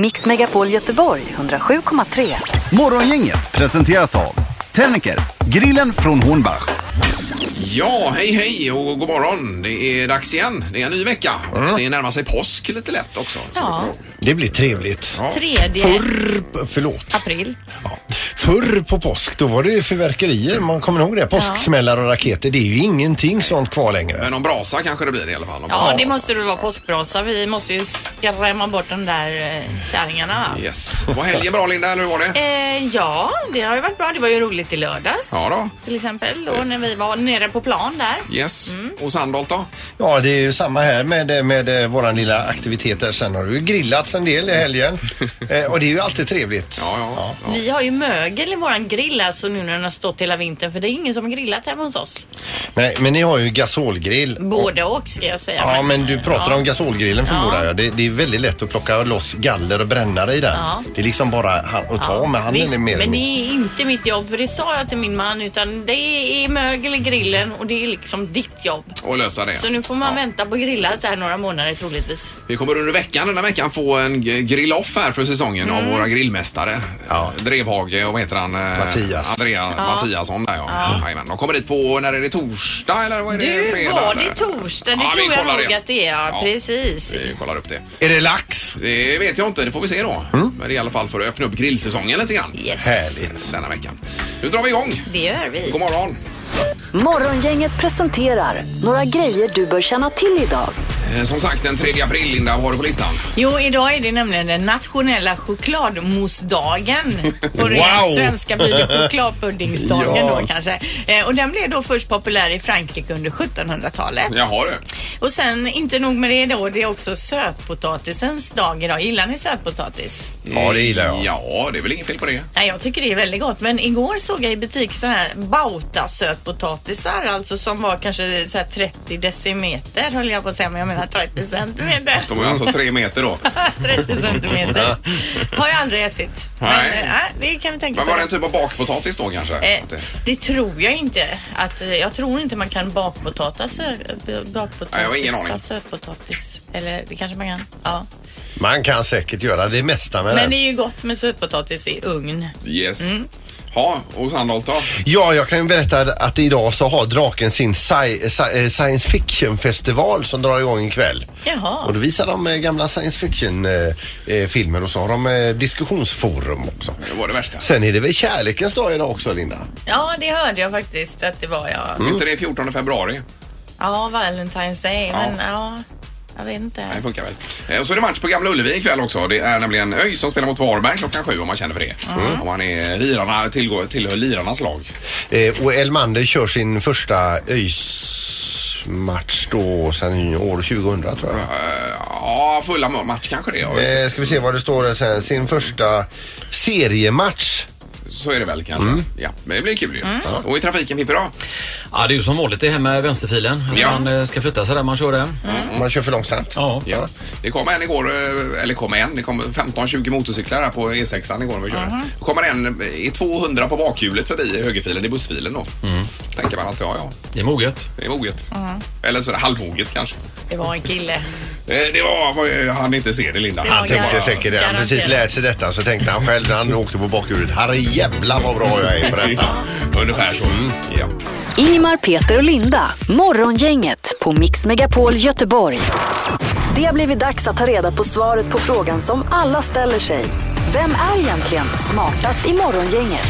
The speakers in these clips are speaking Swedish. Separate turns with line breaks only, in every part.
Mix Megapol Göteborg 107,3.
Morgongänget presenteras av Tennicker, grillen från Hornbach.
Ja, hej hej och god morgon. Det är dags igen. Det är en ny vecka och
Mm.
det närmar sig påsk lite lätt också. Så-
Ja.
Det blir trevligt.
Ja.
Tredje
Förr, förlåt.
april.
Ja. Förr på påsk då var det ju fyrverkerier, man kommer ihåg det. Påsksmällare och raketer, det är ju ingenting sånt kvar längre.
Men Eh, någon brasa kanske det blir i alla fall. Någon
Ja,
brasa.
det måste det vara påskbrasa. Vi måste ju skrämma bort de där eh, kärringarna. va?
Yes. Var helgen bra Linda, eller hur var det?
Eh, ja, det har ju varit bra. Det var ju roligt i lördags.
Ja då.
Till exempel då när vi var nere på plan där.
Yes.
Mm.
Och Sandholt då?
Ja, det är ju samma här med, med eh, våran lilla aktivitet där. Sen har det ju grillats en del i helgen eh, och det är ju alltid trevligt.
Ja, ja. ja.
Vi har ju mögel i våran grill alltså nu när den har stått hela vintern för det är ingen som har grillat hemma hos oss.
Nej, men ni har ju gasolgrill.
Både och ska jag säga.
Ja, men du pratar
Ja.
om gasolgrillen förmodar jag. Det, det är väldigt lätt att plocka loss galler och brännare i den.
Ja.
Det är liksom bara han- att ta med handen.
Visst,
är mer
men det är inte mitt jobb för det sa jag till min man utan det är mögel i grillen och det är liksom ditt jobb.
Och lösa det.
Så nu får man vänta på grillat här några månader troligtvis.
Vi kommer under veckan, den här veckan, få en g- grill-off här för säsongen
Mm.
av våra grillmästare.
Ja.
Drevhage och vad heter han? Eh,
Mattias.
Andrea Mattiasson där ja. Jajamän. De kommer dit på, när är det torsdag eller vad är det?
Du,
Eh, Fredag,
var
eller?
det torsdag? Det
Ja, vi
tror jag
kollar
nog
det.
att det är. Ja,
Ja.
Precis.
Vi eh, kollar upp det.
Är det lax?
Det vet jag inte, det får vi se då. Men det är i alla fall för att öppna upp grillsäsongen lite grann
Yes,
Härligt.
denna veckan. Nu drar vi igång.
det gör vi.
God morgon.
Morgongänget presenterar några grejer du bör känna till idag.
Eh, Som sagt, den 3 april, Linda, vad har du på listan?
Jo, idag är det nämligen den nationella chokladmoussedagen. På ren
Wow!
svenska blir det chokladpuddingsdagen
Ja.
då kanske. Eh, och den blev då först populär i Frankrike under 1700-talet.
Jaha du.
Och sen, inte nog med det då, det är också sötpotatisens dag idag. Gillar ni sötpotatis?
Ja, det gillar jag.
Ja, det är väl inget fel på det.
Nej, jag tycker det är väldigt gott. Men igår såg jag i butik sådana här bautasötpotatisar, alltså som var kanske så här 30 decimeter höll jag på att säga, men jag menar 30 centimeter.
De är alltså tre meter då.
30 centimeter har jag aldrig ätit. Men
Nej.
eh, det kan vi tänka
Men var det en
på.
typ av bakpotatis då kanske?
Eh,
Att det-
det tror jag inte. Att, eh, jag tror inte man kan bakpotatis,
Nej, jag har ingen aning.
bakpotatis, sötpotatis. Eller det kanske man kan. Ja.
Man kan säkert göra det mesta med
Men det
den.
är ju gott med sötpotatis i ugn.
Yes. Ja, och Sandholt då?
Ja, jag kan ju berätta att idag så har Draken sin sci sci eh, science fiction festival som drar igång ikväll.
Jaha.
Och då visar de eh, gamla science fiction eh, eh, filmer och så har de eh, diskussionsforum också.
Det var det värsta.
Sen är det väl kärlekens dag idag också Linda?
Ja, det hörde jag faktiskt att det var. Ja.
Inte det 14 februari?
Ja, Valentine's Day. Men
Ja.
ja, jag vet inte.
Nej, det funkar väl. Eh, Och så är det match på Gamla Ullevi ikväll också. Det är nämligen ÖIS som spelar mot Varberg klockan sju om man känner för det. Mm. Om man är lirarna, tillgår, tillhör lirarnas lag.
Eh, och Elmander kör sin första öis match då sen år 2000 tror jag.
Eh, Ja, fulla ma- match kanske det. Ja, just det.
Eh, ska vi se vad det står där sen. Sin första seriematch.
Så är det väl kanske. Ja, men det blir kul ju. Och i trafiken Pippi då?
Ja, det är ju som vanligt det här med vänsterfilen. Att
Ja.
Man eh, ska flytta sig där man kör den.
Mm.
Man kör för långsamt.
Ja.
Ja. Det kom en igår, eh, eller kom en, det kom 15-20 motorcyklar här på E6 igår när vi körde. Då kommer en eh, i 200 på bakhjulet förbi högerfilen i bussfilen då. Tänker man att ja, ja,
Det är moget.
det är moget. Eller så är det halvmoget kanske.
Det var en kille.
Eh, Det var vad jag hann inte se det Linda.
Ja,
Han tänkte
ja.
säkert det. Han precis
Garanterat.
lärt sig detta så tänkte han själv när han åkte på bakhjulet. Herre jävla vad bra jag är på detta.
Ja, Ungefär så. Mm. Ja.
Ingemar, Peter och Linda. Morgongänget på Mix Megapol Göteborg. Det har blivit dags att ta reda på svaret på frågan som alla ställer sig. Vem är egentligen smartast i morgongänget?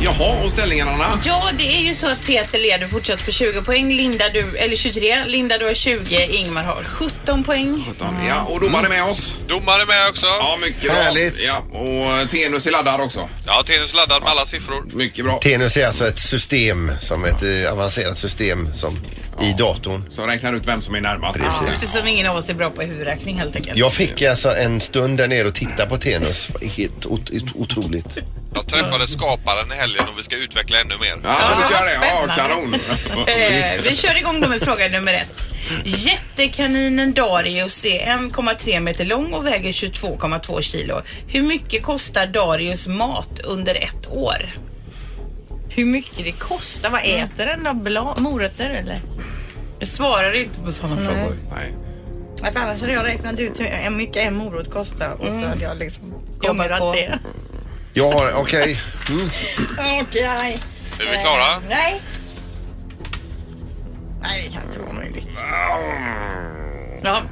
Jaha, och ställningarna Anna?
Ja, det är ju så att Peter leder fortsatt på 20 poäng. Linda du, eller 23. Linda du har 20. Ingmar har 17 poäng.
Ja, och domare är med oss.
Domare med också.
Ja, mycket bra.
Härligt.
Ja, och eh, Tenus är laddad också.
Ja, Tenus laddad med alla siffror.
Mycket bra.
Tenus är alltså ett system, som ett eh, avancerat system som i datorn.
Så räknar ut vem som är närmast.
Precis.
Eftersom ingen av oss är bra på huvudräkning helt enkelt.
Jag fick alltså en stund där nere och titta på Tenus. Helt ot ot- otroligt.
Jag träffade skaparen i helgen och vi ska utveckla ännu mer.
Mm. Ja, så du
Ja,
gör det. Ja,
spännande.
kanon.
Eh, vi kör igång då med fråga nummer ett. Jättekaninen Darius är 1,3 meter lång och väger 22,2 kilo. Hur mycket kostar Darius mat under ett år? Mm.
Hur mycket det kostar? Vad äter den då? Bla- morötter eller?
Jag svarar inte på sådana frågor.
Nej.
Nej, för annars hade jag räknat ut hur hur mycket en morot kostar och så hade jag liksom
Jobbat
jobbat
på.
på. det.
Jag har, okej.
Okej.
Är vi klara?
Nej. Nej, det kan inte vara möjligt. Ja,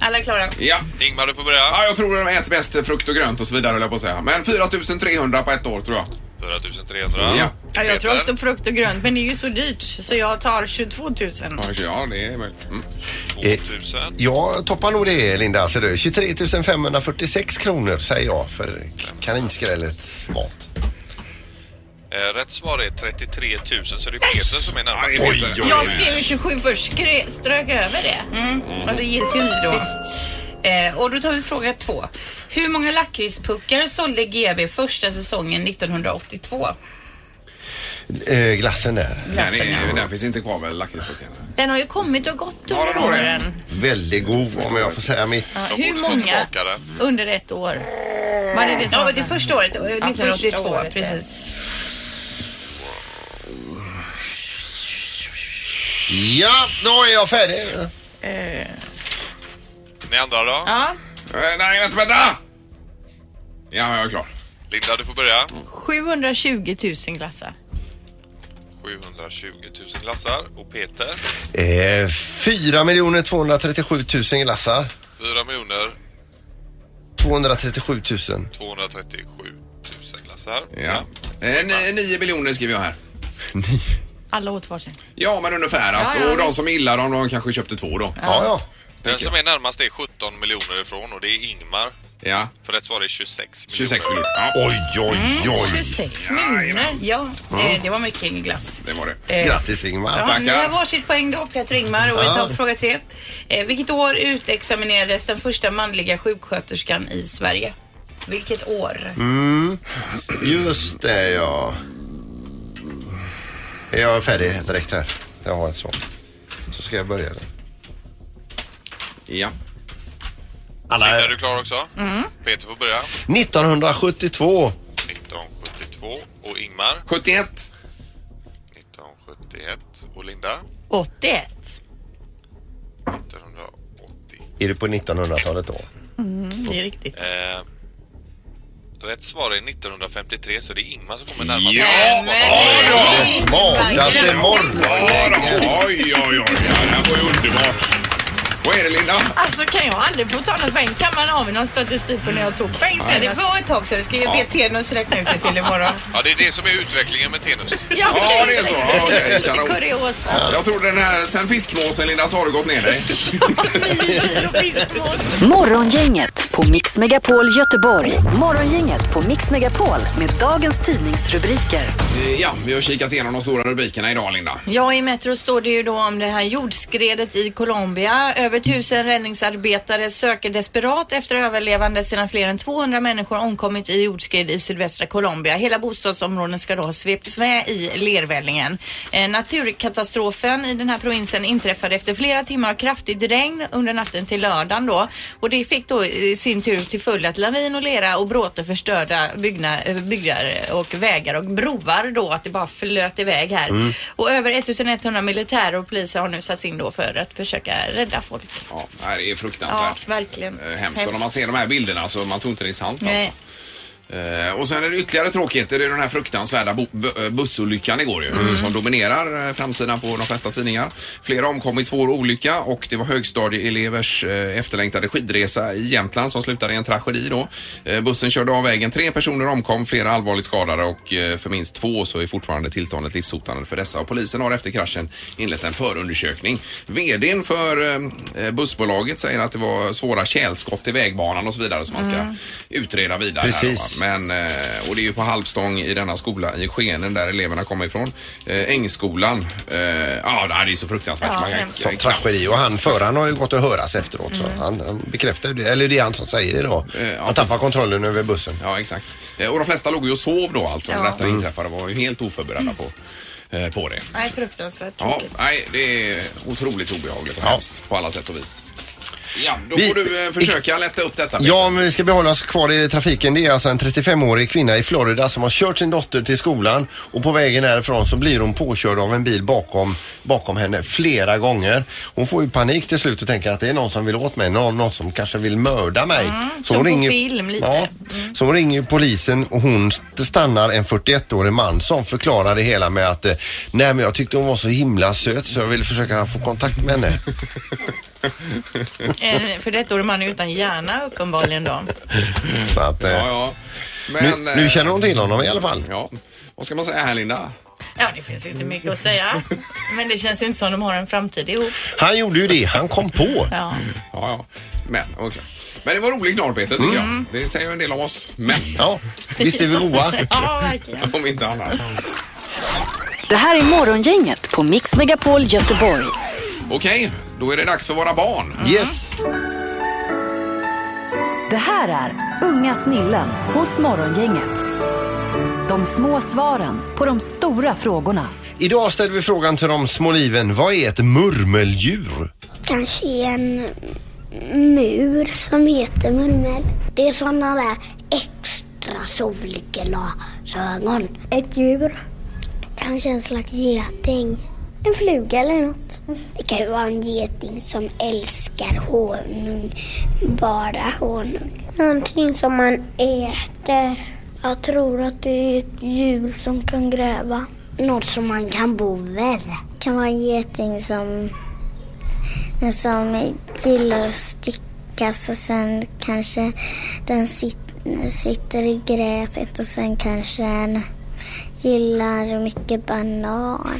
Alla är klara.
Ja.
Ingmar, du får börja.
ja, jag tror de äter bäst frukt och grönt och så vidare höll jag på att säga. Men 4300 på ett år tror jag.
4300.
Ja.
Ja, jag tror också
Peter.
frukt och grönt, men det är ju så dyrt så jag tar 22 000.
Ja, Ja, det är möjligt. Mm.
2000.
Eh, Jag toppar nog det Linda, ser du. 23 546 kronor säger jag för kaninskrällets mat.
Eh, Rätt svar är 33 000 så det är Peter som är
Ja, det
närmast.
är Peter.
Oj,
Jag skrev ju 27 först, skre- strök över det.
Och det gick till då.
Visst. Eh, och då tar vi fråga två. Hur många lakritspuckar sålde GB första säsongen 1982?
Eh, glassen där.
Nej, det är, den finns inte kvar väl, lakritsburken?
Den har ju kommit och gått
Ja,
under
den har det.
åren.
Väldigt god om jag får säga mitt.
Ja,
borde
Hur
ta
många
tillbaka det.
under ett år? Var det det som
Ja,
var
men det är
planen?
första året, eh, 1982.
första året, ja.
precis.
Ja, då är jag färdig.
Ni andra då?
Ja,
Eh, nej, vänta, vänta! Ja, jag är klar.
Linda, du får börja.
720 000 glassar.
720 000 glassar. Och Peter?
Eh, 4 237 000 glassar.
4 miljoner
237 000.
237 000 glassar.
Ja. Eh, ni- nio miljoner skriver jag här.
Alla åt varsin.
Ja, men ungefär. Att,
Ja, ja,
och de
visst.
som gillar dem, de kanske köpte två då.
Ja, ja.
Den som är närmast är 17 miljoner ifrån och det är Ingmar.
Ja,
För rätt svar är 26 miljoner.
26 miljoner. Ja, Mm.
Oj, oj, oj.
26 miljoner. Ja, eh, det var mycket glass.
det var det.
Eh,
Grattis Ingmar.
Ja,
Tackar.
ni har varsitt poäng då, Peter och Ingmar. Och vi tar fråga tre. Eh, vilket år utexaminerades den första manliga sjuksköterskan i Sverige? Vilket år?
Just det ja. Är jag färdig direkt här? Jag har ett svar. Så ska jag börja. Då.
Ja.
Linda, är du klar också?
Mm.
Peter får börja.
1972.
1972 och Ingmar
71.
1971 och Linda
81.
1980.
Är du på 1900-talet då?
Det är riktigt.
Eh, rätt svar är 1953 så det är Ingmar som kommer närmast.
Ja,
Vad
Det smartaste morgon.
Oj, oj, oj. Ja, det här var ju underbart. Vad är det, Linda?
Alltså kan jag aldrig få ta något poäng? Kan man ha med någon statistik på när jag tog poäng
Ja, det
senast?
var ett tag sedan. Vi ska ju be Tenus räkna ut det till imorgon.
Ja, det är det som är utvecklingen med Tenus.
Ja,
Ja, det är så. Ja, okej,
Lite
kanon.
kuriosa.
Jag tror den här, sen fiskmåsen, Linda, så har du gått ner dig.
9 kilo fiskmås.
Morgongänget på Mix Megapol Göteborg. Morgongänget på Mix Megapol med dagens tidningsrubriker.
Eh, Ja, vi har kikat igenom de stora rubrikerna idag, Linda.
Ja, i Metro står det ju då om det här jordskredet i Colombia. Över tusen räddningsarbetare söker desperat efter överlevande sedan fler än 200 människor omkommit i jordskred i sydvästra Colombia. Hela bostadsområden ska då ha svepts med i lervällingen. Eh, naturkatastrofen i den här provinsen inträffade efter flera timmar av kraftigt regn under natten till lördagen då. Och det fick då i sin tur till följd att lavin och lera och bråte förstörda byggna, eh, byggnader och vägar och broar då. Att det bara flöt iväg här.
Mm.
Och över 1100 militärer och poliser har nu satts in då för att försöka rädda folk.
Ja, det här är
Ja,
fruktansvärt.
verkligen.
Eh, Hemskt. Och när man ser de här bilderna så man tror inte det är sant. Alltså.
Nej.
Eh, Och sen är det ytterligare tråkigheter. Det är den här fruktansvärda bo- bu- eh, bussolyckan igår ju, som dominerar eh, framsidan på de flesta tidningar. Flera omkom i svår olycka och det var högstadieelevers eh, efterlängtade skidresa i Jämtland som slutade i en tragedi då. Eh, Bussen körde av vägen. Tre personer omkom, flera allvarligt skadade och eh, för minst två så är fortfarande tillståndet livshotande för dessa. Och polisen har efter kraschen inlett en förundersökning. VDn för eh, bussbolaget säger att det var svåra tjälskott i vägbanan och så vidare som man ska utreda vidare. här då, va.
Precis.
Men, eh, och det är ju på halvstång i denna skola i Skenen där eleverna kommer ifrån. Eh, Ängskolan. Eh, Ja, det här är ju så fruktansvärt.
Ja,
Man kan-
hemskt.
Som tragedi och han föraren har ju gått att höras efteråt så han, han bekräftar ju det, eller det är han som säger det då.
Eh, ja,
Han tappar kontrollen över bussen.
Ja, exakt. Eh, Och de flesta låg ju och sov då alltså när
Ja.
Mm.
detta inträffade. var ju helt oförberedda på, eh, på det.
Nej, fruktansvärt
Ja,
tråkigt.
nej, det är otroligt obehagligt och hemskt på alla sätt och vis. Ja, då
Vi-
får du eh, försöka lätta upp detta.
Ja, om vi ska behålla oss kvar i trafiken. Det är alltså en 35-årig kvinna i Florida som har kört sin dotter till skolan och på vägen därifrån så blir hon påkörd av en bil bakom, bakom henne flera gånger. Hon får ju panik till slut och tänker att det är någon som vill åt mig, någon, någon som kanske vill mörda mig.
Mm, som på film lite. Mm.
Ja, så hon ringer ju polisen och hon st- stannar en 41-årig man som förklarar det hela med att eh, nej men jag tyckte hon var så himla söt så jag ville försöka få kontakt med henne.
En Eh, för detta år man är utan hjärna uppenbarligen då.
Så att, eh,
Ja, ja. Men,
nu, nu
eh,
känner hon till honom i alla fall.
Ja. Vad ska man säga här, Linda?
Ja, det finns inte mycket att säga. Men det känns ju inte som de har en framtid ihop.
Han gjorde ju det, han kom på.
Ja.
Ja, ja. Men, okej. Men det var rolig knorr, Peter, tycker
Mm.
jag. Det säger ju en del om oss män,
Ja, visst är vi goa?
Ja, verkligen.
om inte annat.
Det här är Morgongänget på Mix Megapol Göteborg.
Okej, då är det dags för våra barn.
Yes.
Det här är Unga snillen hos Morgongänget. De små svaren på de stora frågorna.
Idag ställer vi frågan till de små liven. Vad är ett murmeldjur?
Kanske en mur som heter murmel. Det är sådana där extra solglasögon. Ett djur. Kanske en slags geting. En fluga eller något. Det kan ju vara en geting som älskar honung. Bara honung. Någonting som man äter. Jag tror att det är ett djur som kan gräva. Något som man kan bo väl. Kan vara en geting som som gillar att stickas och sen kanske den sit- sitter i gräset och sen kanske den gillar mycket banan.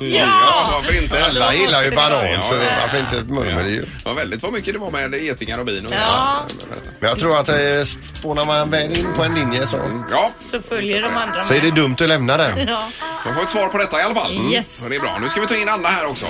Ja, varför inte?
Alla gillar ju banan,
Ja,
så
ja.
varför inte ett murmeldjur?
Ja, väldigt vad mycket det var med getingar och bin. Och
Ja.
Men jag tror att eh, spånar man väl in på en linje så,
ja,
Så följer de andra
så är det dumt att lämna den.
Ja.
jag får ett svar på detta i alla fall. Mm.
Yes.
Det är bra. Nu ska vi ta in Anna här också.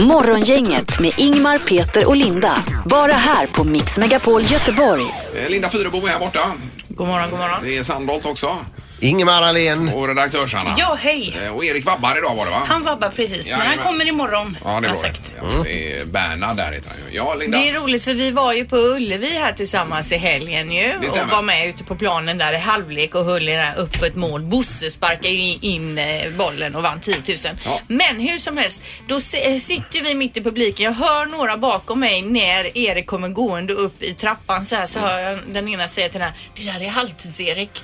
Morgongänget med Ingmar, Peter och Linda. Bara här på Mix Megapol Göteborg.
Eh, Linda Fyrebo är här borta.
God morgon, god morgon.
Det är Sandholt också.
Ingemar Ahlén.
Och redaktörs-Anna.
Ja, hej.
Eh, Och Erik vabbar idag var det va?
Han vabbar precis, men han
Jajamän.
kommer imorgon.
Ja, det är
har
bra.
han sagt.
Ja, det är Bernhard där heter han ju. Ja, Linda.
Det är roligt för vi var ju på Ullevi här tillsammans i helgen ju
Det
och
stämmer.
var med ute på planen där i halvlek och höll i det här öppet mål. Bosse sparkade ju in- in eh, bollen och vann 10 000.
Ja.
Men hur som helst, då se- eh, sitter ju vi mitt i publiken. Jag hör några bakom mig när Erik kommer gående upp i trappan så här
Mm.
så hör jag den ena säga till den här, det där är halvtids-Erik.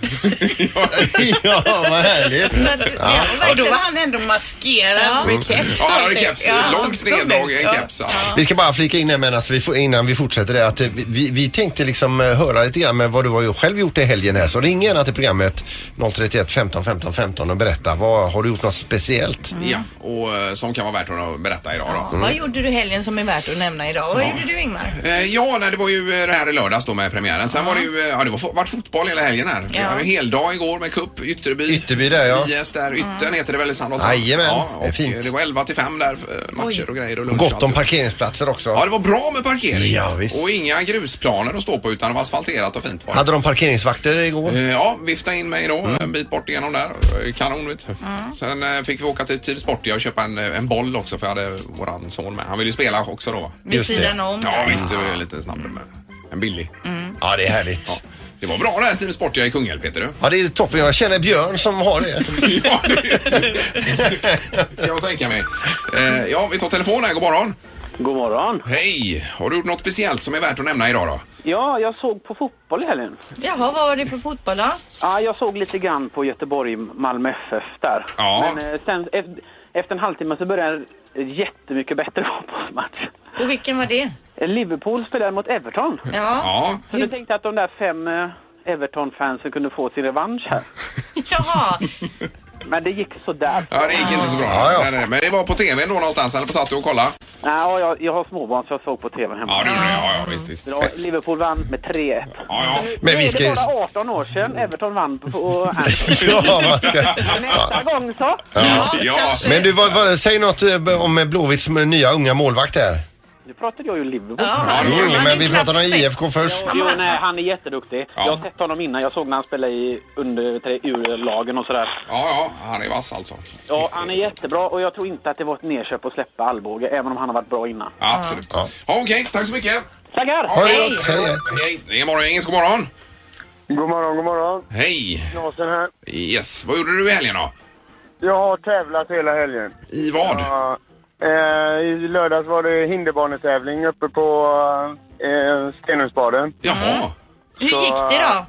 Ja, vad härligt.
Så att- ja,
Och då var
verkligen
han ändå maskerad
Ja.
med keps.
Ja, han hade
allting.
keps.
Ja,
Långt
som skumt.
neddragen
Ja.
keps. alltså. Ja.
Vi ska bara flika in här medan vi, får- innan vi fortsätter det att eh, vi- vi, vi tänkte liksom eh, höra lite grann med vad du har ju själv gjort i helgen här. Så ring gärna till programmet 031 15 15 15 och berätta. Vad, har du gjort något speciellt?
Ja, och eh, som kan vara värt att berätta idag då.
Vad gjorde du helgen som är värt att nämna idag? Vad gjorde du Ingmar?
Eh, Ja, nej, det var ju eh, det här i lördags då med premiären. Sen var det ju, eh, ja det var fo- vart fotboll hela helgen här. Vi
Ja.
hade en hel dag igår med cup, Ytterby.
Ytterby där ja.
IS där, Yttern heter det väl i Sandholt?
Jajamän,
ja,
det är
och
fint.
eh, Det var 11 till 5 där, eh, matcher och grejer och lunch. och
Gott om
allt.
parkeringsplatser också.
Ja, det var bra med parkering.
Ja, visst.
Och inga grusplaner att stå på utan det var asfalterat och fint var det.
Hade Mm. de parkeringsvakter igår?
Eh, Ja, vifta in mig då en bit bort igenom där. Eh, Kanon vet du. Sen eh, fick vi åka till Team Sportia och köpa en, eh, en boll också för jag hade våran son med. Han ville ju spela också då. va?
Vid
Just det.
sidan om.
Ja,
där.
visst. Det var lite snabbare med en billig.
Ja, det är härligt.
Det var bra det här Team Sportia i Kungälv, Peter du.
Ja, det är toppen. Jag känner Björn som har det.
Ja, det- kan jag tänka mig. Eh, ja, vi tar telefon här. God morgon.
God morgon.
Hej! Har du gjort något speciellt som är värt att nämna idag då?
Ja, jag såg på fotboll i helgen.
Jaha, vad var det för fotboll då?
Ja, jag såg lite grann på Göteborg-Malmö FF där.
Ja.
Men eh, sen, efter, efter en halvtimme så började en jättemycket bättre fotbollsmatch.
Och vilken var det?
Eh, Liverpool spelade mot Everton.
Ja.
Ja.
Så jag tänkte att de där fem eh, Everton-fansen kunde få sin revansch här.
Jaha.
Men det gick sådär.
Ja, det gick inte så bra.
Ja, ja.
Nej, nej, nej. Men det var på tv då någonstans, eller på satt du och kollade?
Ja, jag, jag har småbarn så jag såg på tvn hemma.
Ja, det gjorde det. Ja, ja, visst, visst.
Då, Liverpool vann med 3-1.
Ja,
Men vi ska
Det
ju...
är bara 18 år sedan Everton vann på... på
Ja, man ska...
Nästa gång så.
ja. ja.
Men du, vad, vad, säg något eh, om Blåvitts nya unga målvakt här.
Nu pratade jag ju Liverpool.
Ja, Ja, men jo, han men hade vi knappt pratade om sett- IFK först.
Jo, jo, nej, han är jätteduktig. Jag har sett honom innan. Jag såg när han spelade i under tre- U-lagen och sådär.
Ja, ja, han är vass alltså.
Ja, han är jättebra och jag tror inte att det var ett nedköp att släppa Alvbåge, även om han har varit bra innan.
Ja, absolut. Ja. Okej, tack så mycket.
Tackar!
Ja, hej. Hej, det är morgongänget. God morgon.
God morgon, god morgon.
Hej.
Knasen här.
Yes, vad gjorde du i helgen då?
Jag har tävlat hela helgen.
I vad?
Ja, eh, I lördags var det hinderbanetävling uppe på eh, Stenungsbaden.
Jaha.
Hur gick det då?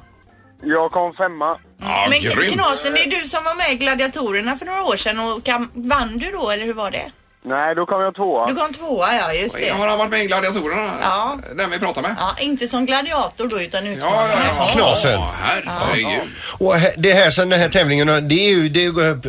Jag kom femma.
Ja,
Men Knasen, det är du som var med i Gladiatorerna för några år sedan och kam- vann du då eller hur var det?
Nej, då kom jag tvåa.
Du kom tvåa, ja just det.
Har han varit med i Gladiatorerna? Ja. Den vi pratar med?
Ja, inte som gladiator då utan utmanare.
Knasen.
Herregud.
Och här- det här sen den här tävlingen, det är ju, det är, ju-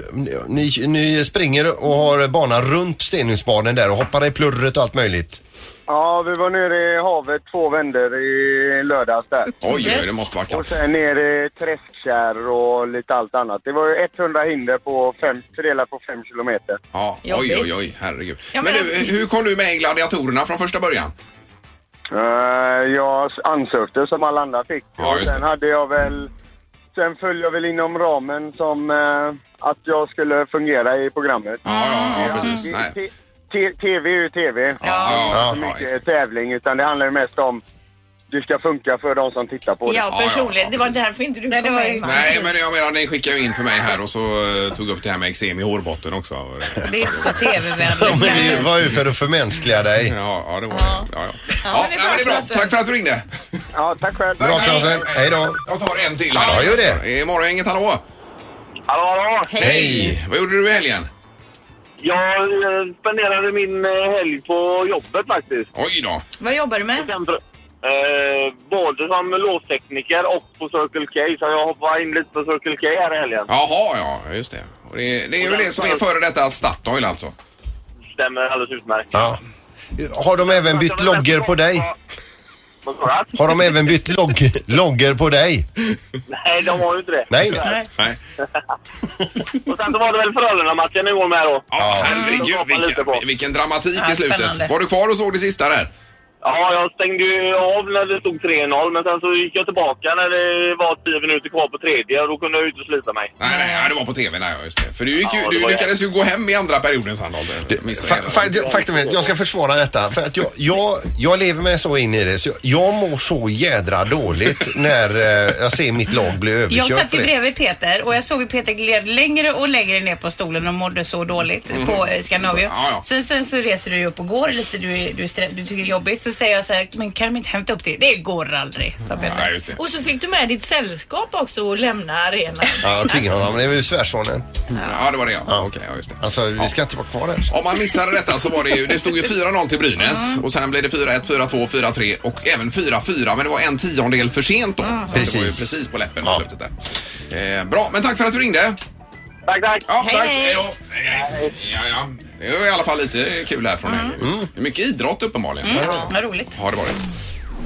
ni, ni springer och har banan runt Stenungsbaden där och hoppar i plurret och allt möjligt.
Ja, vi var nere i havet två vändor i lördags där.
Oj, oj, det måste vara kallt.
Och sen nere i träskkärr och lite allt annat. Det var ju 100 hinder på fem, fördelat på fem kilometer.
Ja, oj,
Jobbigt.
oj, oj, herregud.
Ja,
men
men
du, hur kom du med i Gladiatorerna från första början?
Eh, jag ansökte som alla andra fick.
Ja,
och
just
sen hade jag väl... Sen föll jag väl inom ramen som eh, att jag skulle fungera i programmet.
Ja, ja, ja precis.
T-
Nej.
t- t- TV är ju TV. Ja. Det är
Ja, ja,
inte så mycket tävling, utan det handlar ju mest om det ska funka för de som tittar på det.
Ja, personligt. Det var därför inte du kom med. Mats.
Nej, men jag menar, ni skickade ju in för mig här och så eh, tog upp det här med eksem i hårbotten också.
Det är inte så
Ja, men
tv-vänligt.
det var ju för att förmänskliga dig.
Ja, ja det var det. Ja, ja. Ja, nej, men det är bra. Tack för att du ringde.
Ja, tack själv.
Bra, Klasen. Hej då.
Jag tar en till här.
Ja, gör det.
Det är morgongänget, hallå.
Hallå, hallå.
Hej. Vad gjorde du i helgen?
Jag eh, spenderade min eh, helg på jobbet faktiskt.
Oj då.
Vad jobbar du med?
Eh, både som låstekniker och på Circle K, så jag hoppade in lite på Circle K här i helgen.
Jaha, ja, just det. Och det, det är ju det som är före detta Statoil alltså.
Stämmer alldeles utmärkt. Alltså,
Ja. Har de även bytt loggor på dig? Har de även bytt logg, loggor på dig?
Nej, de har ju inte det.
Nej.
Tyvärr.
Nej.
och sen så var det väl Frölunda-matchen igår med då.
Ja, herregud vilken, vilken dramatik
Ja,
i slutet.
spännande.
Var du kvar och såg det sista där?
Ja, jag stängde ju av när det stod 3-0, men sen så gick jag tillbaka när det var 10 minuter kvar på tredje och då kunde jag ju inte sluta mig.
Nej, nej, ja, det var på tv. Nej, ja, just det. För du, gick ju,
Ja, det
du
var jag.
lyckades ju gå hem i andra perioden, Sandholt. Missade hela.
Fa- fa- Faktum är, jag ska försvara detta. För att jag, jag, jag lever mig så in i det. Så jag, jag mår så jädra dåligt när eh, jag ser mitt lag bli överkört.
Jag satt
på
ju
det.
bredvid Peter och jag såg hur Peter gled längre och längre ner på stolen och mådde så dåligt
Mhm.
på eh, Scandinavium.
Ja, ja.
Sen, sen så reser du ju upp och går lite, du, är- du, är strä- du tycker det är jobbigt. Så säger jag så här, men kan de inte hämta upp det? Det går aldrig, sa Peter.
Nej, just det.
Och så fick du med ditt sällskap också och lämna arenan.
Ja,
Alltså,
jag tvingade honom. Det var ju svärssonen.
Ja, det var det ja. Okej, ja, just det.
Alltså, vi ska inte vara kvar där.
Om man missade detta så var det ju, det stod ju 4-0 till Brynäs och sen blev det 4-1, 4-2, 4-3 och även 4-4 men det var en tiondel för sent då. Så det var ju
Precis.
precis på läppen på slutet där. Eh, bra, men tack för att du ringde. Tack, tack. Ja, tack. Hej då. Ja, ja. Det var i alla fall lite kul här från
Mm.
helgen. Det är Mycket idrott uppenbarligen.
Mm, vad roligt.
Har det varit.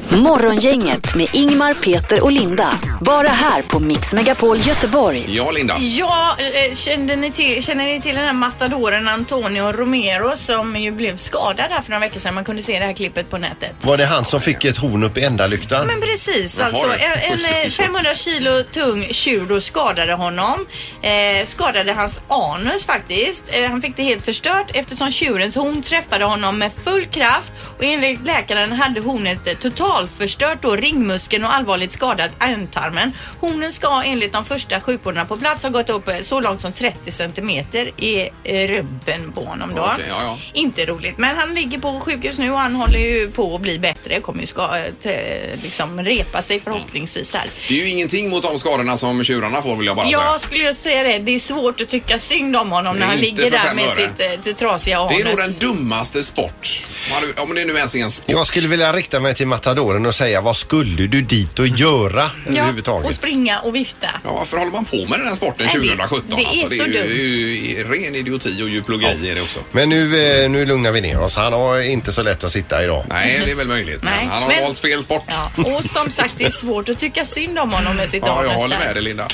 Morgongänget med Ingmar, Peter och Linda. Bara här på Mix Megapol Göteborg.
Ja, Linda.
Ja, eh, kände ni till, känner ni till den här matadoren Antonio Romero som ju blev skadad här för några veckor sedan? Man kunde se det här klippet på nätet.
Var det han som fick ett horn upp i ändalyktan?
Men precis,
Vad
alltså
har du?
en, en eh, 500 kilo tung tjur då skadade honom. Eh, skadade hans anus faktiskt. Eh, han fick det helt förstört eftersom tjurens horn träffade honom med full kraft och enligt läkaren hade hornet eh, totalförstört då ringmuskeln och allvarligt skadat ändtarmen. Hornen ska enligt de första sjukvårdarna på plats ha gått upp eh, så långt som 30 centimeter i eh, rumpen på honom då.
Okej, ja, ja.
Inte roligt, men han ligger på sjukhus nu och han håller ju på att bli bättre. Kommer ju ska, eh, trä- liksom repa sig förhoppningsvis här.
Det är ju ingenting mot de skadorna som tjurarna får vill jag bara säga.
Jag skulle ju säga det, det är svårt att tycka synd om honom
Det är
när han
inte
ligger
för
där
fem
med
öre.
sitt, eh, det trasiga
Det är nog
anus.
den dummaste sport. Man- Om det nu ens är en sport.
Jag skulle vilja rikta mig till matadoren och säga vad skulle du dit och göra
Ja, och
överhuvudtaget?
springa och vifta.
Ja, varför håller man på med den här sporten
Nej, det-
2017?
det är
alltså,
så
ju-
dumt.
det är ju ren idioti och djurplågeri är det också.
Men nu, eh, nu lugnar vi ner oss. Han har inte så lätt att sitta idag.
Nej, det är väl möjligt.
Nej,
Han har
men-
valt fel sport. Ja,
Och som sagt, det är svårt att tycka synd om honom med sitt
jag
anus
håller
där.
med dig Linda.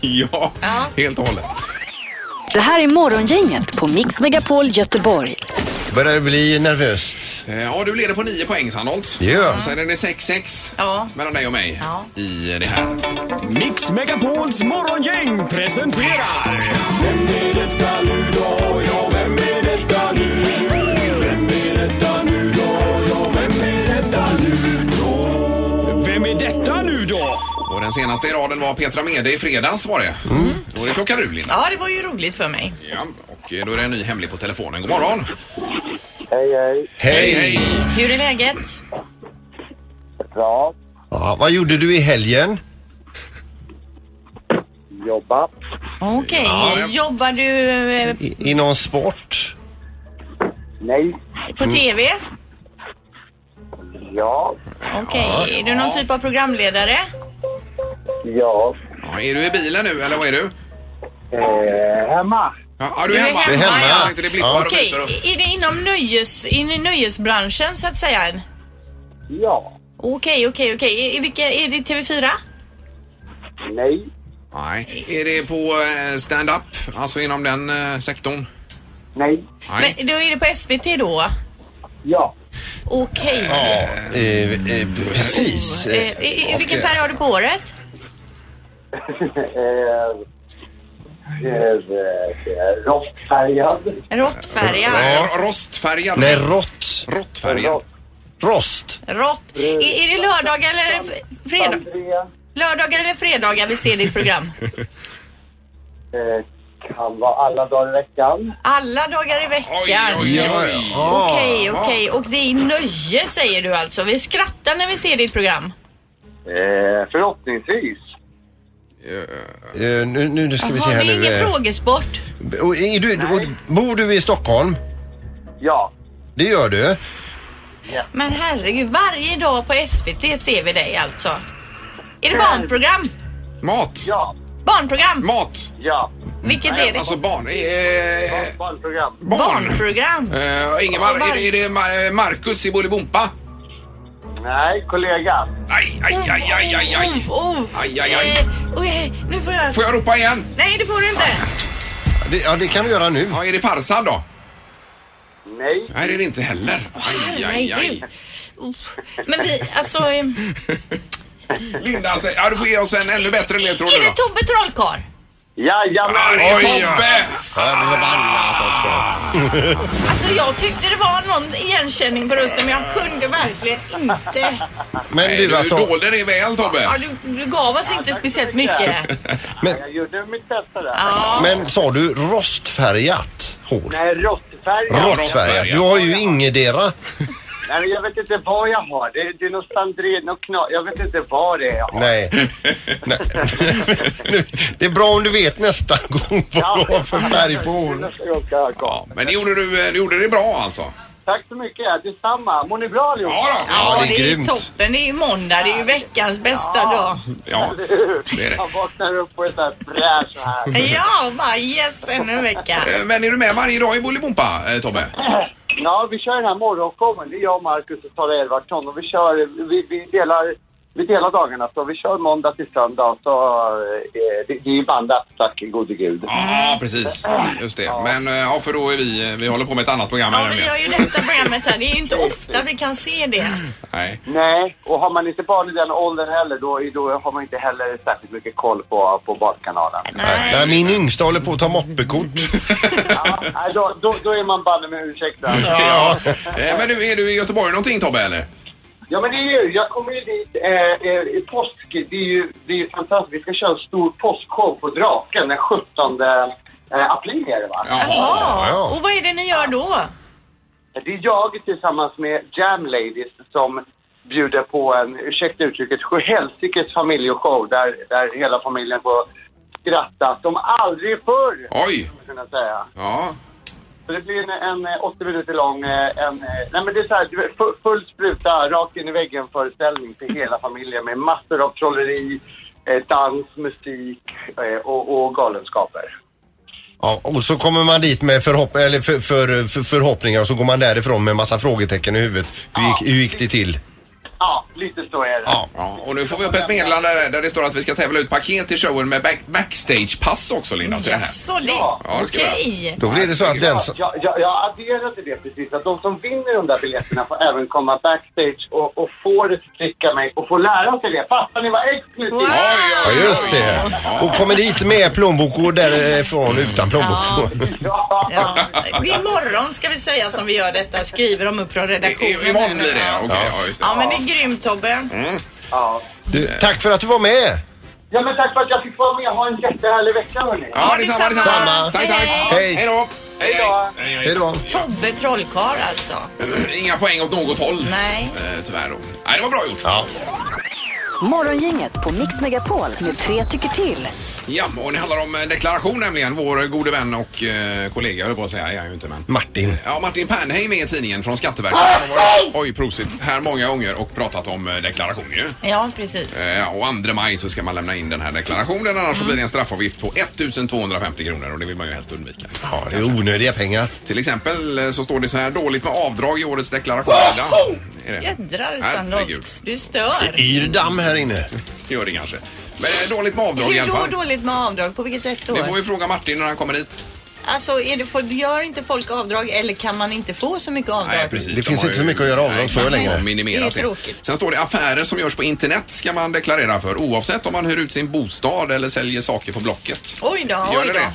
ja, helt och hållet.
Det här är Morgongänget på Mix Megapol Göteborg.
Börjar det bli nervöst?
Eh, Ja, du leder på 9 poäng Sandholt.
Det gör jag.
Och Sen är det 6-6 mellan dig och mig i det här.
Mix Megapols morgongäng presenterar... Vem är detta nu då? Ja, vem är detta nu? Vem är detta nu då? Ja, vem är detta nu då? Vem är detta nu då?
Och den senaste i raden var Petra Mede i fredags var det. Och det plockar du Linda.
Ja, det var ju roligt för mig.
Ja, och eh, då är det en ny hemlig på telefonen. God morgon!
Hej, hej.
Hej!
Hur är läget?
Bra.
Ja, vad gjorde du i helgen?
Jobba.
Okej,
Ja, jag-
jobbar du eh,
I, i någon sport?
Nej.
på
Mm.
TV?
Ja.
Okej, är du någon typ av programledare?
Ja.
Ja, är du i bilen nu eller vad är du?
Eh, hemma.
Ja, ja, du är hemma. Jag tänkte det blippar och
Okej,
byter och-
är det inom nöjes, in i nöjesbranschen så att säga?
Ja.
Okej, okej, okej. I- i vilka- Är det TV4?
Nej.
Nej. Är det på eh, stand-up? Alltså inom den eh, sektorn?
Nej.
Nej.
Men då är det på SVT då?
Ja.
Okej.
Ja, eh, eh, precis.
Eh, i- i Vilken färg har du på håret?
Eh, Rostfärgad.
Råttfärgad?
Nej, r- rostfärgad.
Nej, rått.
Råttfärgad.
Rost.
Rått. Är, är det lördagar eller f- fredag? Lördagar eller fredagar vi ser ditt program?
Eh, Kan vara alla dagar i veckan.
Alla dagar i veckan.
oj, oj. Ja.
Okej, okej. Och det är nöje säger du alltså. Vi skrattar när vi ser ditt program.
förhoppningsvis.
Eh, nu, nu nu ska vi se
Jaha,
här
det är
nu.
ingen
eh,
frågesport.
och Är du, och bor du i Stockholm?
Ja.
Det gör du?
Men herregud, varje dag på SVT ser vi dig alltså. Är det barnprogram?
Mat.
Ja.
Mm.
Barnprogram?
Mat.
Ja.
Vilket är det?
Alltså barn. Eh,
Barnprogram.
barn.
Barnprogram?
Eh, Ingemar, är det, är det Ma- eh, Marcus i Bolibompa?
Nej, kollega.
Aj, aj, aj, aj, aj, aj.
Oh, oh.
Aj, aj, aj.
Eh, oj, nu får jag...
Får jag ropa igen?
Nej, det får du inte.
Det, ja, det kan vi göra nu.
Ja, är det Farsad då?
Nej.
Nej, det är det inte heller. Aj, aj, aj.
Herregud. Men vi, alltså... eh,
Linda, säg- ja, du får ge oss en ännu bättre ledtråd
Är
nu
det
då.
Tobbe Trollkarl?
Jajamän!
Arg Tobbe!
Alltså jag tyckte det var någon igenkänning på rösten men jag kunde verkligen inte.
Men
Nej,
du,
du
alltså-
dolde det väl Tobbe.
Ja, du, du gav oss inte speciellt mycket.
Men,
Jag gjorde mitt bästa där.
Ja.
men sa du rostfärgat hår?
Nej, råttfärgad.
Råttfärgat. Du har ju ingetdera.
Nej, men jag vet inte vad jag har. Det, det är något sandrin, något knas. Jag vet inte vad det är jag har.
Nej. Nej. Nu- Det är bra om du vet nästa gång vad du har för färg på håret.
Nästa gång ska jag ha.
Men det gjorde du, eh, du gjorde det bra alltså.
Tack så mycket. Detsamma. Mår ni bra allihop?
Ja, då.
Ja, det är
ju
grymt.
toppen. Det är ju måndag. Det är ju veckans bästa dag.
Ja,
Eller hur?
det är det.
Jag vaknar upp och är så här fräsch så här.
Ja, bara yes, ännu en vecka.
Eh, Men är du med varje dag i Bolibompa, eh, Tobbe?
Ja, vi kör den här morgonshowen. Det är jag, Marcus och Sara Edvardsson. Och vi kör, vi, vi delar, vi delar dagarna. Så vi kör måndag till söndag. Så eh, det, det är bandat, tack gode gud.
Ja, precis. Just det. Men eh, ja, för då är vi, eh, vi håller på med ett annat program. här
Ja, vi
nämligen.
har ju detta programmet här. Det är ju inte ofta vi kan se det.
Nej.
Nej, och har man inte barn i den åldern heller, då, då har man inte heller särskilt mycket koll på, på Barnkanalen.
Nej, min yngsta håller på att ta moppekort.
Ja, nej, då, då, då är man banne med ursäktad.
Ja. Eh, Men du, är du i Göteborg någonting Tobbe eller?
Ja, men det är ju, jag kommer ju dit eh, eh, i påsk. Det är ju det är ju fantastiskt. Vi ska köra en stor påskshow på Draken den 17 eh, april är det va?
Ja, och vad är det ni gör då?
Det är jag tillsammans med Jam Ladies som bjuder på en, ursäkta uttrycket, sjuhelsikes familjeshow där, där hela familjen får skratta som aldrig förr,
Oj!
skulle jag kunna säga.
Ja.
Så det blir en, en eh, 80 minuter lång, eh, en, eh, nej men det är så här, du vet, fu- full spruta, rakt in i väggen föreställning till hela familjen med massor av trolleri, eh, dans, musik eh, och, och galenskaper.
Ja, och så kommer man dit med förhopp eller för, för, för, förhoppningar och så går man därifrån med massa frågetecken i huvudet. Hur gick, hur gick det till?
Ja, lite så är det.
Ja. och nu får vi upp ett meddelande där- där det står att vi ska tävla ut paket i showen med back backstagepass också Linda. till det här.
Så det.
Ja, det ska vi göra.
Okej.
Då blir det så att den
alltså-
som-
Jag, jag, jag adderar till det precis att de som vinner de där biljetterna får även komma backstage och, och få det till klicka mig och få lära sig det. Fattar ni vad exklusivt?
Ja, just det. Och kommer dit med plånbok och därifrån utan plånbok.
Det är imorgon ska vi säga som vi gör detta. Skriver de upp från redaktionen.
imorgon
nu.
blir det,
Ja.
okej, ja, just det.
Ja, men det är grymt Tobbe.
Ja.
Du, tack för att du var med.
Ja, men tack för att jag fick vara med. Ha en jättehärlig vecka, hörni.
Ja, detsamma, detsamma. Samma.
Tack, tack.
Hej.
Hej då. Hej, hej.
Hej då.
Tobbe trollkarl alltså.
Inga poäng åt något håll.
Nej.
Eh, Tyvärr då. Nej, det var bra gjort.
Ja.
Morgongänget på Mix Megapol med tre tycker till.
Ja, och det handlar om eh, deklaration nämligen. Vår gode vän och eh, kollega, höll på att säga, jag är ju inte men.
Martin.
Ja, Martin Pernheim är i tidningen från Skatteverket. Han har varit, oj, prosit, här många gånger och pratat om eh, deklaration ju.
Ja, precis.
Eh, Och 2 maj så ska man lämna in den här deklarationen annars
Mm.
så blir det en straffavgift på 1250 kronor och det vill man ju helst undvika.
Ja, det är onödiga pengar.
Till exempel eh, så står det så här dåligt med avdrag i årets deklaration. Linda. Är det?
Jädrar
Herregud.
Sandholt. Du stör.
Yr damm här inne.
Gör det kanske. Men eh, dåligt med avdrag i
Hur
alla
då
fall.
dåligt med avdrag? På vilket sätt då?
Det får vi fråga Martin när han kommer hit.
Alltså, är det, får, gör inte folk avdrag eller kan man inte få så mycket avdrag?
Nej, precis.
Det finns inte så mycket att göra avdrag för längre.
Det är
Minimerat det.
tråkigt.
Sen står det affärer som görs på internet ska man deklarera för oavsett om man hyr ut sin bostad eller säljer saker på Blocket.
Oj då,
Gör
oj
det
då.
det?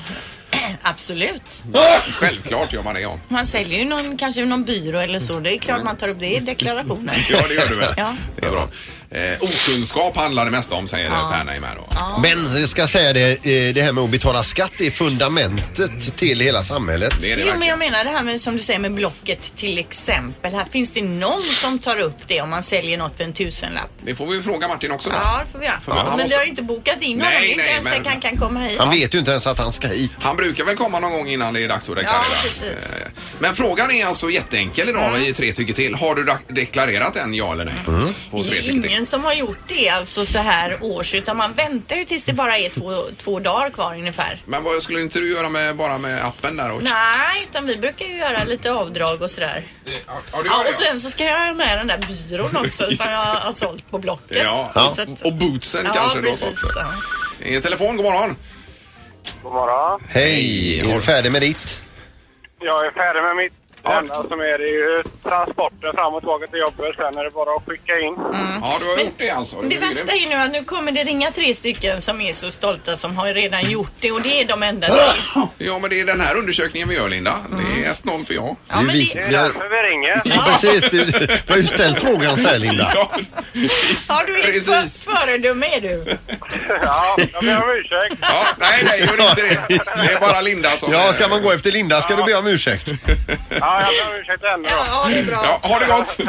Absolut.
Självklart gör man det ja.
Man säljer ju någon, kanske någon byrå eller så. Det är klart man tar upp det i deklarationen.
Ja, det gör du väl?
Ja.
Det är bra. Eh, okunskap handlar det mesta om, säger Pernheim här då.
Men jag ska säga det, eh, det här med att betala skatt är fundamentet till hela samhället.
jo, men jag menar det här med, som du säger med Blocket till exempel. Här finns det någon som tar upp det om man säljer något för en tusenlapp?
Det får vi fråga Martin också då.
Ja, det får vi göra.
För man- han
men
måste-
du har ju inte bokat in honom.
Nej,
Det är inte
nej,
ens
men-
säkert han kan komma hit.
Han vet ju inte ens att han ska hit.
Han brukar väl komma någon gång innan det är dags att deklarera.
Ja, precis.
Eh, Men frågan är alltså jätteenkel idag
Mm.
i tre tycker till. Har du da- deklarerat än, ja eller nej? På
Det
tre tycker
är
till.
Mm. ingen som har gjort det alltså så här års utan man väntar ju tills det bara är två, två dagar kvar ungefär.
Men vad skulle inte du göra med, bara med appen där? Och...
Nej, utan vi brukar ju göra lite avdrag och sådär.
Ja, du gör
Ja,
det,
och sen så ska jag ha med den där byrån också som jag har sålt på Blocket.
Ja,
Så att-
och- och bootsen
Ja,
kanske då.
precis, Mm.
sånt.
ja.
Eh, Telefon, god morgon.
God morgon.
Hej, är du färdig med ditt?
Jag är färdig med mitt. Det enda som är det är ju transporten fram och tillbaka till jobbet. Sen är det bara att skicka in.
Ja, du har gjort det alltså.
Det värsta är ju nu att nu kommer det ringa tre stycken som är så stolta som har redan gjort det och det är de
Ah!
enda som
Ja, men det är den här undersökningen vi gör, Linda. Det
Mm.
är 1-0 för ja.
Ja, men det- Det är därför
vi ringer.
Ja, precis, du, du har ju ställt frågan så här Linda.
Ja, du är ett
Precis.
föredöme är du.
Ja, jag ber om ursäkt.
Ja, nej, nej, gör inte det. Det är bara Linda som...
Ja, ska man gå efter Linda ska du be om ursäkt.
Ja, jag ber om ursäkt ändå.
Ja, det är bra.
Ja, ha det gott!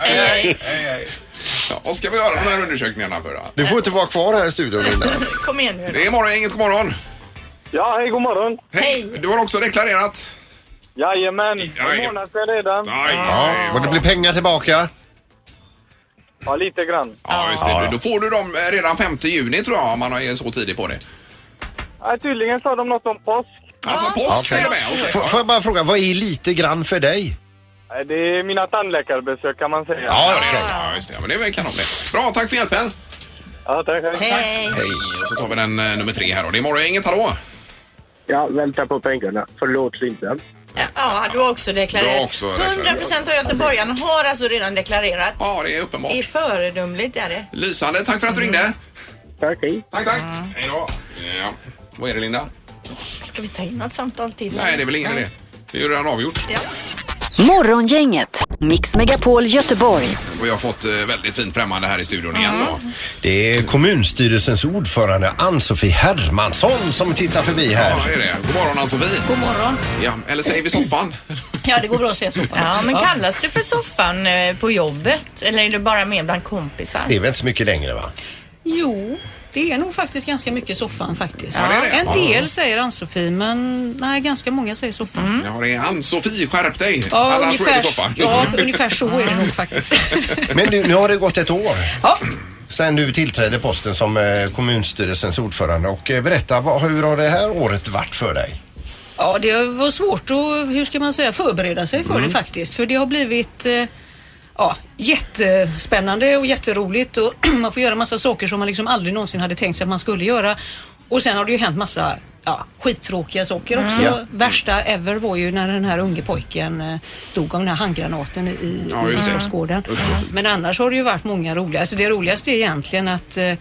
Hej.
Ja, och ska vi göra de här undersökningarna för då?
Du får inte vara kvar här i studion Linda.
Kom igen nu.
Det är morgon, inget god morgon.
Ja, hej, god morgon.
Hej! Du har också deklarerat.
Jajamän,
Jajamän.
en månad sedan redan.
Ja, och det blir pengar tillbaka.
Ja, lite grann.
Ja, just det. Då får du dem eh, redan 5 juni tror jag, om man är så tidig på det.
Ja, tydligen sa de något om påsk.
Alltså påsk till och med, okej.
Får, får jag bara fråga, vad är lite grann för dig?
Nej, Det är mina tandläkarbesök kan man säga.
Ja, det är det.
Ja, just det. Ja, men det är väl kanon det. Bra, tack för hjälpen.
Ja, tack.
Hej.
Hej, och så tar vi den eh, nummer tre här då. Det är morgongänget, hallå!
Jag väntar på pengarna. Förlåt, Linda.
Ja, du har också deklarerat.
Du har också deklarerat.
100% av göteborgarna har alltså redan deklarerat.
Ja, det är uppenbart.
Det är föredömligt är det.
Lysande, tack för att du ringde.
Tack, hej.
Tack, tack. Hej då. Ja. Vad är det, Linda?
Ska vi ta in något samtal till?
Nej, det är väl ingen idé. Det är ju redan avgjort.
Morgongänget, Mix Megapol Göteborg.
Och jag har fått eh, väldigt fint främmande här i studion igen då.
Det är kommunstyrelsens ordförande Ann-Sofie Hermansson som tittar förbi
Ja,
här.
det är det. God morgon Ann-Sofie.
God morgon.
Ja, eller säger vi soffan?
Ja, det går bra att säga soffan
Ja,
också.
men
kallas du för soffan eh, på jobbet eller är du bara med bland kompisar?
Det är väl inte så mycket längre va?
Jo, det är nog faktiskt ganska mycket soffan faktiskt.
Ja, det är det.
En
Ja.
del säger Ann-Sofie, men nej, ganska många säger soffan.
Ja, det är Ann-Sofie, skärp dig!
Ja,
Annars så är det
ungefär,
soffan.
ja, ungefär så är det nog faktiskt.
Men nu, nu har det gått ett år.
Ja.
Sen du tillträdde posten som eh, kommunstyrelsens ordförande och eh, berätta vad, hur har det här året varit för dig?
Ja, det var svårt att, hur ska man säga, förbereda sig för
Mm.
det faktiskt. För det har blivit eh,
Ja, jättespännande och jätteroligt och man får göra massa saker som man liksom aldrig någonsin hade tänkt sig att man skulle göra. Och sen har det ju hänt massa ja, skittråkiga saker också.
Mm. Ja.
Värsta ever var ju när den här unge pojken eh, dog av den här handgranaten i
Ja, just det.
Djurgården.
Usch, så
Men annars har det ju varit många roliga. Alltså det roligaste är egentligen att eh,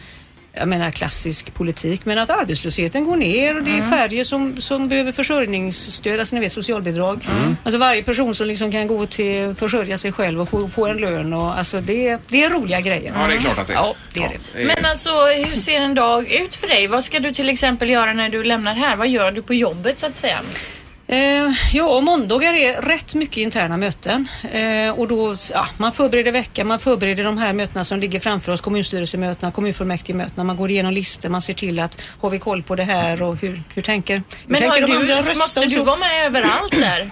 jag menar klassisk politik, men att arbetslösheten går ner och det är
Mm.
färre som, som behöver försörjningsstöd, alltså ni vet socialbidrag. Alltså varje person som liksom kan gå till försörja sig själv och få, få en lön och alltså det, det är roliga grejer.
Ja, det är klart att det är.
Ja, det är det.
Men alltså hur ser en dag ut för dig? Vad ska du till exempel göra när du lämnar här? Vad gör du på jobbet så att säga?
Eh, ja, och måndagar är rätt mycket interna möten eh, och då, ja, man förbereder veckan, man förbereder de här mötena som ligger framför oss, kommunstyrelsemötena, kommunfullmäktigmötena, man går igenom listor, man ser till att har vi koll på det här och hur, hur tänker, hur
Men har
tänker de andra
du,
rösta
måste
och
du
så? Ah,
vara med överallt där?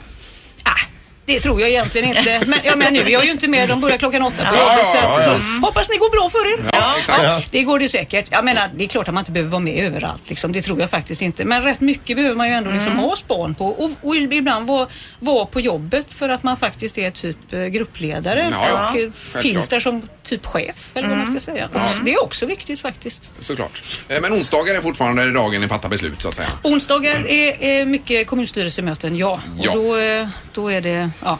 Det tror jag egentligen inte. Men, ja, men nu är jag ju inte med. De börjar klockan åtta på
Ja,
jobbet.
ja,
så att,
ja,
så, Mm. hoppas ni går bra för er.
Ja, exakt. Ja.
det går det säkert. Jag menar, det är klart att man inte behöver vara med överallt. Liksom. Det tror jag faktiskt inte. Men rätt mycket behöver man ju ändå liksom
Mm.
ha span på. Och, och ibland vara vara på jobbet för att man faktiskt är typ eh, gruppledare
Ja, ja.
och eh,
Självklart. Mm.
finns där som typ chef eller vad man ska säga.
Ja.
Det är också viktigt faktiskt.
Såklart. Eh, Men onsdagar är fortfarande dagen ni fattar beslut så att säga.
Onsdagar är, är mycket kommunstyrelsemöten, ja.
Ja.
Och då, eh, då är det, ja.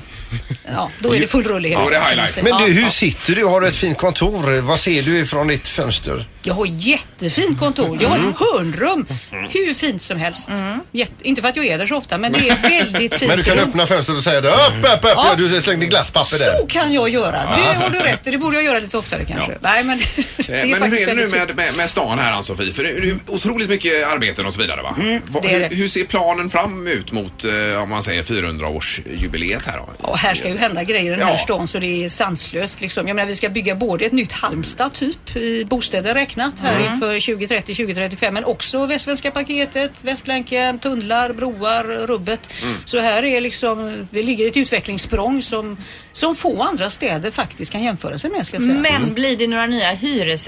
Ja, då är det full rulle hela dagen, kan man säga.
Men du,
Ja,
hur
ja.
sitter du? Har du ett fint kontor? Vad ser du ifrån ditt fönster?
Jag har jättefint kontor. Jag har ett hörnrum. Hur fint som helst. Jätte, inte för att jag är där så ofta, men det är väldigt fint.
Men du kan
rum.
öppna fönstret och säga det. Upp, upp, upp!
Ja.
Ja. Du slängde glasspapper där.
Så kan jag göra. Det
Ja.
har du rätt i. Det borde jag göra lite oftare kanske. Nej, men det
Eh,
är
Men hur
faktiskt
är det nu
väldigt
med, med,
fint.
med stan här Ann-Sofie? För det är ju otroligt mycket arbeten och så vidare va? Vad-
Mm, det är
hur,
det.
hur ser planen fram ut mot eh, om man säger 400-årsjubileet här då?
Och här ska ju hända grejer i den här
Ja.
stan så det är sanslöst. Liksom. Jag menar, vi ska bygga både ett nytt Halmstad typ i bostäder räknat här
Mm.
inför 2030, 2035 men också Västsvenska paketet, Västlänken, tunnlar, broar, rubbet.
Mm.
Så här är liksom, vi ligger i ett utvecklingssprång som, som få andra städer faktiskt kan jämföra sig med ska jag säga.
Men blir det några nya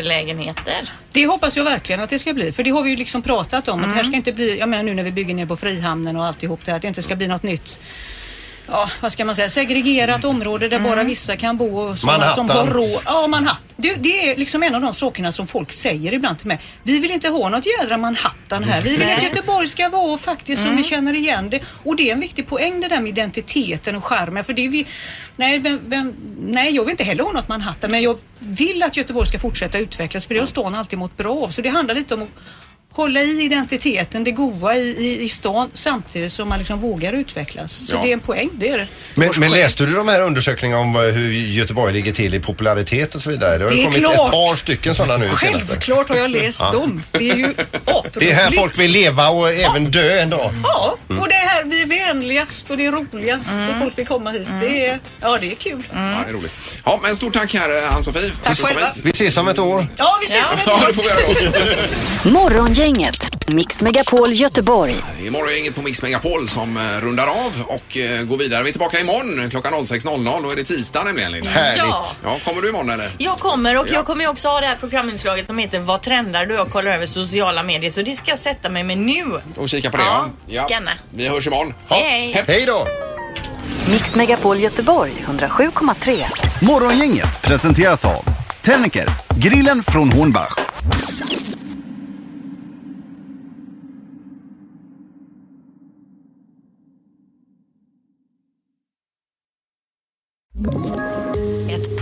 hyreslägenheter?
Det hoppas jag verkligen att det ska bli. För det har vi ju liksom pratat om. Att här ska inte bli, jag menar nu när vi bygger ner på Frihamnen och alltihop det här. Att det inte ska bli något nytt. Ja, vad ska man säga? Segregerat område där bara vissa kan bo. Och sådana som har
Manhattan.
råd. Ja, Manhattan. Du, det är liksom en av de sakerna som folk säger ibland till mig. Vi vill inte ha något jädra Manhattan här. Vi vill
Nej.
att Göteborg ska vara faktiskt som vi känner igen det. Och det är en viktig poäng det där med identiteten och charmen. För det är vi, nej, vem, vem, nej, jag vill inte heller ha något Manhattan men jag vill att Göteborg ska fortsätta utvecklas för det har stan alltid mått bra av. Så det handlar lite om att hålla i identiteten, det goa i, i, i stan samtidigt som man liksom vågar utvecklas. Så
Ja.
det är en poäng, det är det.
Men, men läste du de här undersökningarna om eh, hur Göteborg ligger till i popularitet och så vidare? Det har
Det
ju
är
kommit
klart.
ett par stycken sådana nu senaste.
Självklart har jag läst
Ja.
dem. Det är ju
Det är här
aproligt.
folk vill leva och även dö en dag.
Ja,
Mm.
och det är här vi är vänligast och det är roligast och folk vill komma hit. Det är, ja, det är kul.
Ja, det är roligt. Ja, men stort tack här eh, Ann-Sofie. för att du kom
själva.
hit.
Vi ses om ett år.
Ja, vi ses om ett
Ja,
år.
det får vi göra då.
Morgongänget, Mix Megapol Göteborg.
Imorgon är inget på Mix Megapol som eh, rundar av och eh, går vidare. Vi är tillbaka imorgon klockan 06.00. Då är det tisdag nämligen Linda.
Härligt. Ja.
Ja, kommer du imorgon eller?
Jag kommer och
Ja.
jag kommer ju också ha det här programinslaget som heter Vad trendar du? Jag kollar över sociala medier så det ska jag sätta mig med nu.
Och kika på det
Ja,
ja.
scanna.
Vi hörs imorgon.
Hej.
Hej då!
Mix Megapol Göteborg 107,3.
Morgongänget presenteras av Tennicker, grillen från Hornbach.
Ett